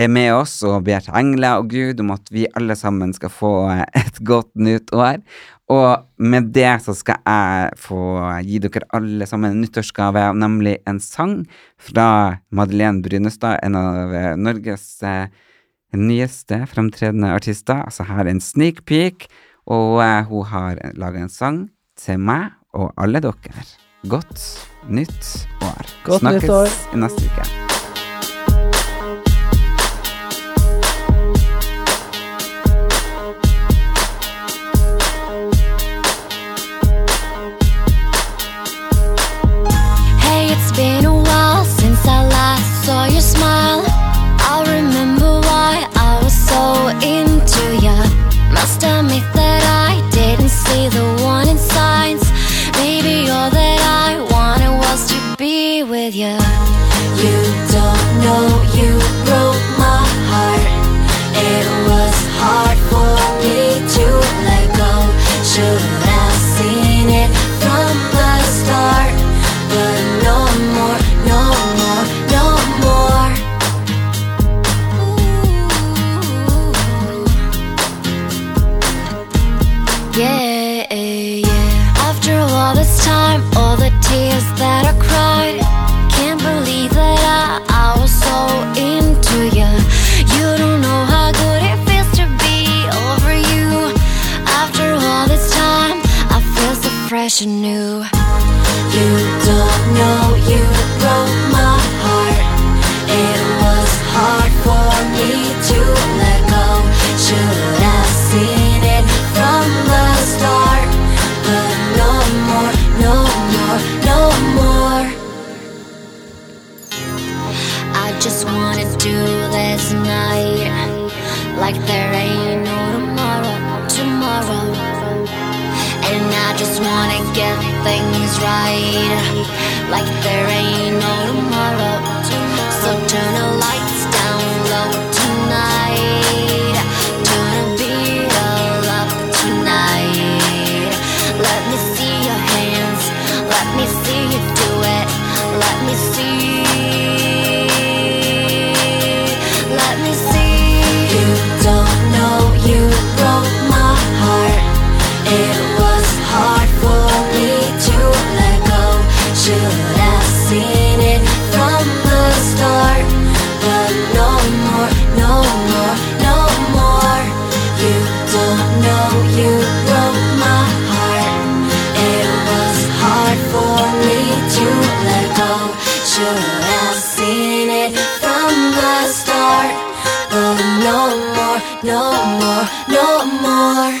er med oss og ber til engler og Gud om at vi alle sammen skal få et godt nytt år. Og med det så skal jeg få gi dere alle sammen en nyttårsgave, nemlig en sang fra Madeleine Brynestad, en av eh, Norges eh, nyeste fremtredende artister. Altså her er en sneak peek, og eh, hun har laga en sang til meg og alle dere. Godt nytt år.
Godt nytt
Snakkes
år.
i neste uke.
After all this time, all the tears that I cried, can't believe that I, I was so into you. You don't know how good it feels to be over you. After all this time, I feel so fresh and new. You don't know you broke my heart. It was hard for me to let go. Should have seen it from the start. But no more, no more, no more. I just wanna do this night. Like there ain't no tomorrow, tomorrow. And I just wanna get things right. Like there ain't no tomorrow. So turn the lights down low tonight. Turn the beat all up tonight. Let me see your hands. Let me see you do it. Let me see. Let me see. You don't know you broke my heart. It was hard for me to let go. Should have seen it from the start. But no more, no more, no more. You don't know you broke my heart. It was hard for me to let go. Should have seen it from the start. But no more, no more, no more.